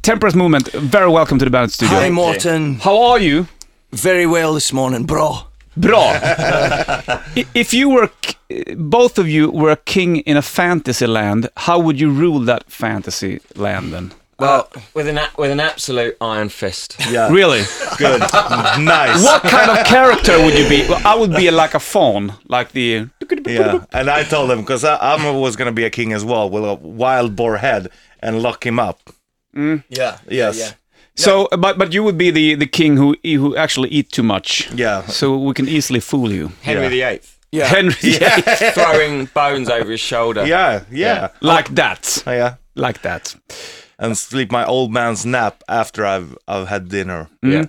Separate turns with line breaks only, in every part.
Temperance Movement, very welcome to the Bandit Studio.
Hi, Morton.
How are you?
Very well this morning, bro.
Bra! I- if you were, k- both of you were a king in a fantasy land, how would you rule that fantasy land then?
Well, with an a- with an absolute iron fist.
Yeah.
Really?
Good. nice.
What kind of character would you be? Well, I would be like a fawn, like the.
Yeah. And I told him because I was going to be a king as well with a wild boar head and lock him up.
Yeah.
Yes.
Yeah.
So, but but you would be the the king who e, who actually eat too much.
Yeah.
So we can easily fool you.
Henry VIII,
Yeah.
Henry, yeah.
throwing bones over his shoulder.
Yeah. Yeah.
like that,
Oh, yeah.
like that.
And sleep my old man's nap after I've I've had dinner.
Yeah.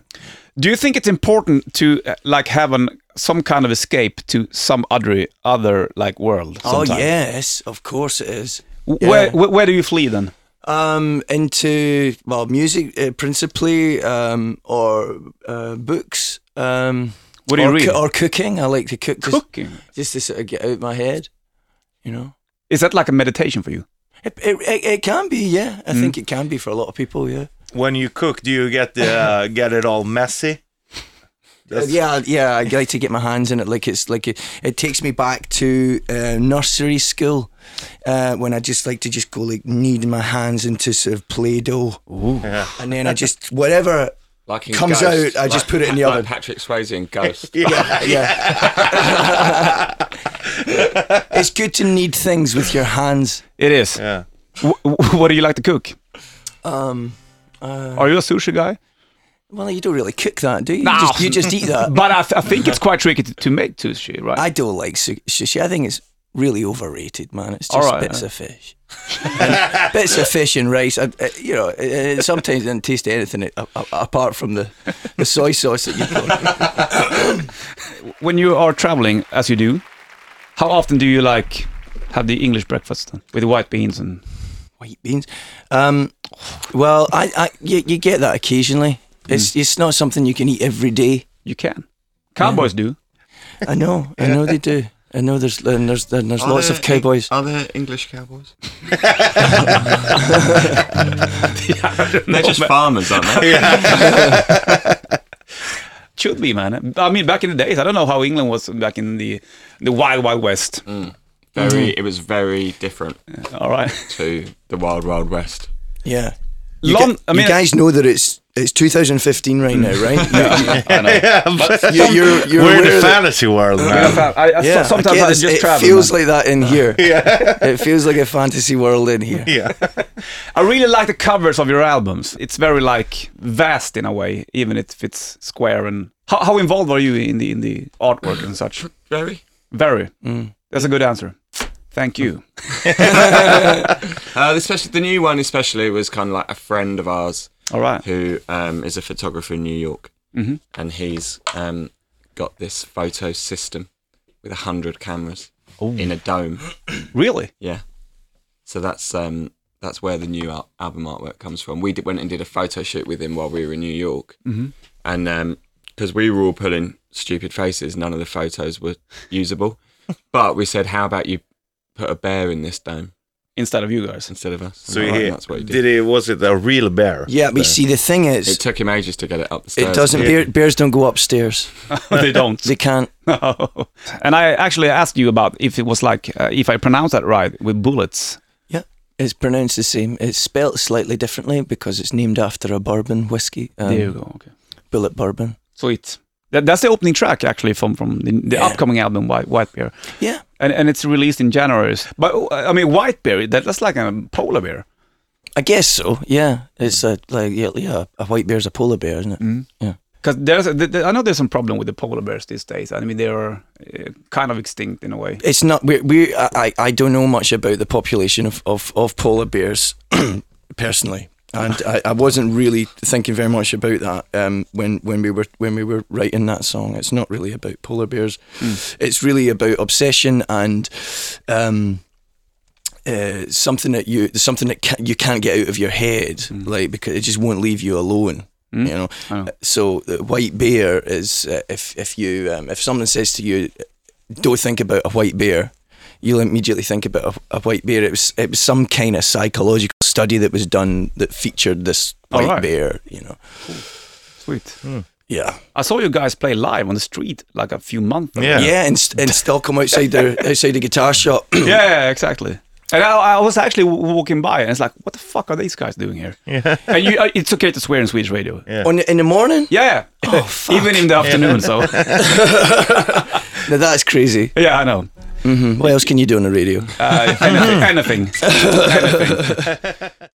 Do you think it's important to uh, like have an some kind of escape to some other other like world?
Oh
sometime?
yes, of course it is.
W- Where, where where do you flee then?
Um, into well, music uh, principally, um, or uh, books. Um,
What do you
or
read?
coo- or cooking. I like to cook. Just,
Cooking.
just to sort of get out my head. You know,
Is that like a meditation for you?
it it, it, it can be. Yeah,
Mm.
I think it can be for a lot of people. Yeah.
When you cook, do you get the uh, get it all messy? That's-
Uh, yeah, yeah. I like to get my hands in it. Like it's like it, it takes me back to uh, nursery school uh, when I just like to just go like knead my hands into sort of play doh,
Yeah.
and then I just whatever.
Like in
Comes
Ghost,
out, I just
like-
put it in the
like
oven.
Patrick Swayze in Ghost.
Yeah.
Yeah. it's good to knead things with your hands.
It is.
Yeah.
W- w- what do you like to cook?
Um,
Are you a sushi guy?
well, you don't really cook that, do you?
No.
You, just, you just eat that.
But I, th- I think it's quite tricky to, to make sushi, right?
I don't like su- sushi. I think it's really overrated, man. It's
All
just
right,
bits
yeah.
of fish. bits of fish and rice. I, I, you know, it, it sometimes doesn't taste anything a, a, apart from the, the soy sauce that you put.
when you are traveling as you do, how often do you like have the English breakfast then? with white beans and
White beans. Um, well, I, I you, you get that occasionally. It's it's not something you can eat every day.
you can. Cowboys do.
I know. I know they do. I know there's and there's and there's
Oh,
lots of cowboys.
Are there English cowboys?
They're just farmers, aren't they?
Should be, man. I mean, back in the days, I don't know how England was back in the the wild, wild west.
Very. It was very different
All right,
to the Wild Wild West.
Yeah. You,
Lon-
gu-
I mean,
you guys know that it's it's 2015 right now, right?
I know.
you, you, are you're
We're in
aware
the
that-
fantasy world, man.
I, I, so- sometimes
again,
I
it's-
just
it
travel.
feels
man.
like that in here. It feels like a fantasy world in here.
Yeah.
I really like the covers of your albums. It's very like vast in a way, even if it's square and. How, how involved are you in the in the artwork and such?
Very.
Very.
Mm.
That's a good answer. Thank you.
Uh, especially the new one, especially was kind of like a friend of ours
All right.
who um, is a photographer in New York,
Mm-hmm.
and he's um, got this photo system with a hundred cameras in a dome.
Really?
Yeah, so that's um, that's where the new al- album artwork comes from. We did, went and did a photo shoot with him while we were in New York, mm-hmm. and because we were all pulling stupid faces, none of the photos were usable. but we said, "How about you put a bear in this dome
Instead of you guys.
instead of us?"
So
And
he,
that's what he did.
did he was it a real bear?
Yeah, but you see, the thing is,
It
it,
took him ages to get it up the stairs.
doesn't. Bear, bears don't go upstairs.
they don't.
They can't.
No. And I actually asked you about if it was like uh, if I pronounce that right with bullets.
Yeah, it's pronounced the same. It's spelt slightly differently because it's named after a bourbon whiskey,
there you
um,
go. Okay.
Bullet Bourbon.
Sweet. That, that's the opening track actually from from the, the
Yeah.
upcoming album White, White Bear,
Yeah,
and and it's released in January. But uh, I mean White Bear, that, that's like a polar bear.
I guess so. Yeah, it's a like yeah, yeah a white bear's a polar bear, isn't it? Yeah.
Because there's, a- th- th- I know there's some problem with the polar bears these days. I mean, they are uh, kind of extinct in a way.
it's not we we I, I- I don't know much about the population of of, of polar bears personally and I, I wasn't really thinking very much about that um, when when we were when we were writing that song it's not really about polar bears it's really about obsession and um, uh, something that you something that ca- you can't get out of your head like because it just won't leave you alone you know
know.
so the white bear uh, is uh, if if you um, if someone says to you don't think about a white bear. you'll immediately think about a, a white bear. It was it was some kind of psychological study that was done that featured this
All
white
right.
bear. You know,
Sweet.
yeah,
I saw you guys play live on the street like a few months ago.
Yeah.
yeah, and st- and still come outside the outside the guitar shop.
Yeah, yeah, exactly. And I, I was actually w- walking by, and it's like, what the fuck are these guys doing here? Yeah. And you, uh, it's okay to swear in Swedish radio. Yeah.
On in the morning.
Yeah. Even in the afternoon. So
Now that's crazy. Mm-hmm.
yeah, I know.
What else can you do on the radio?
Uh, anything. anything. anything.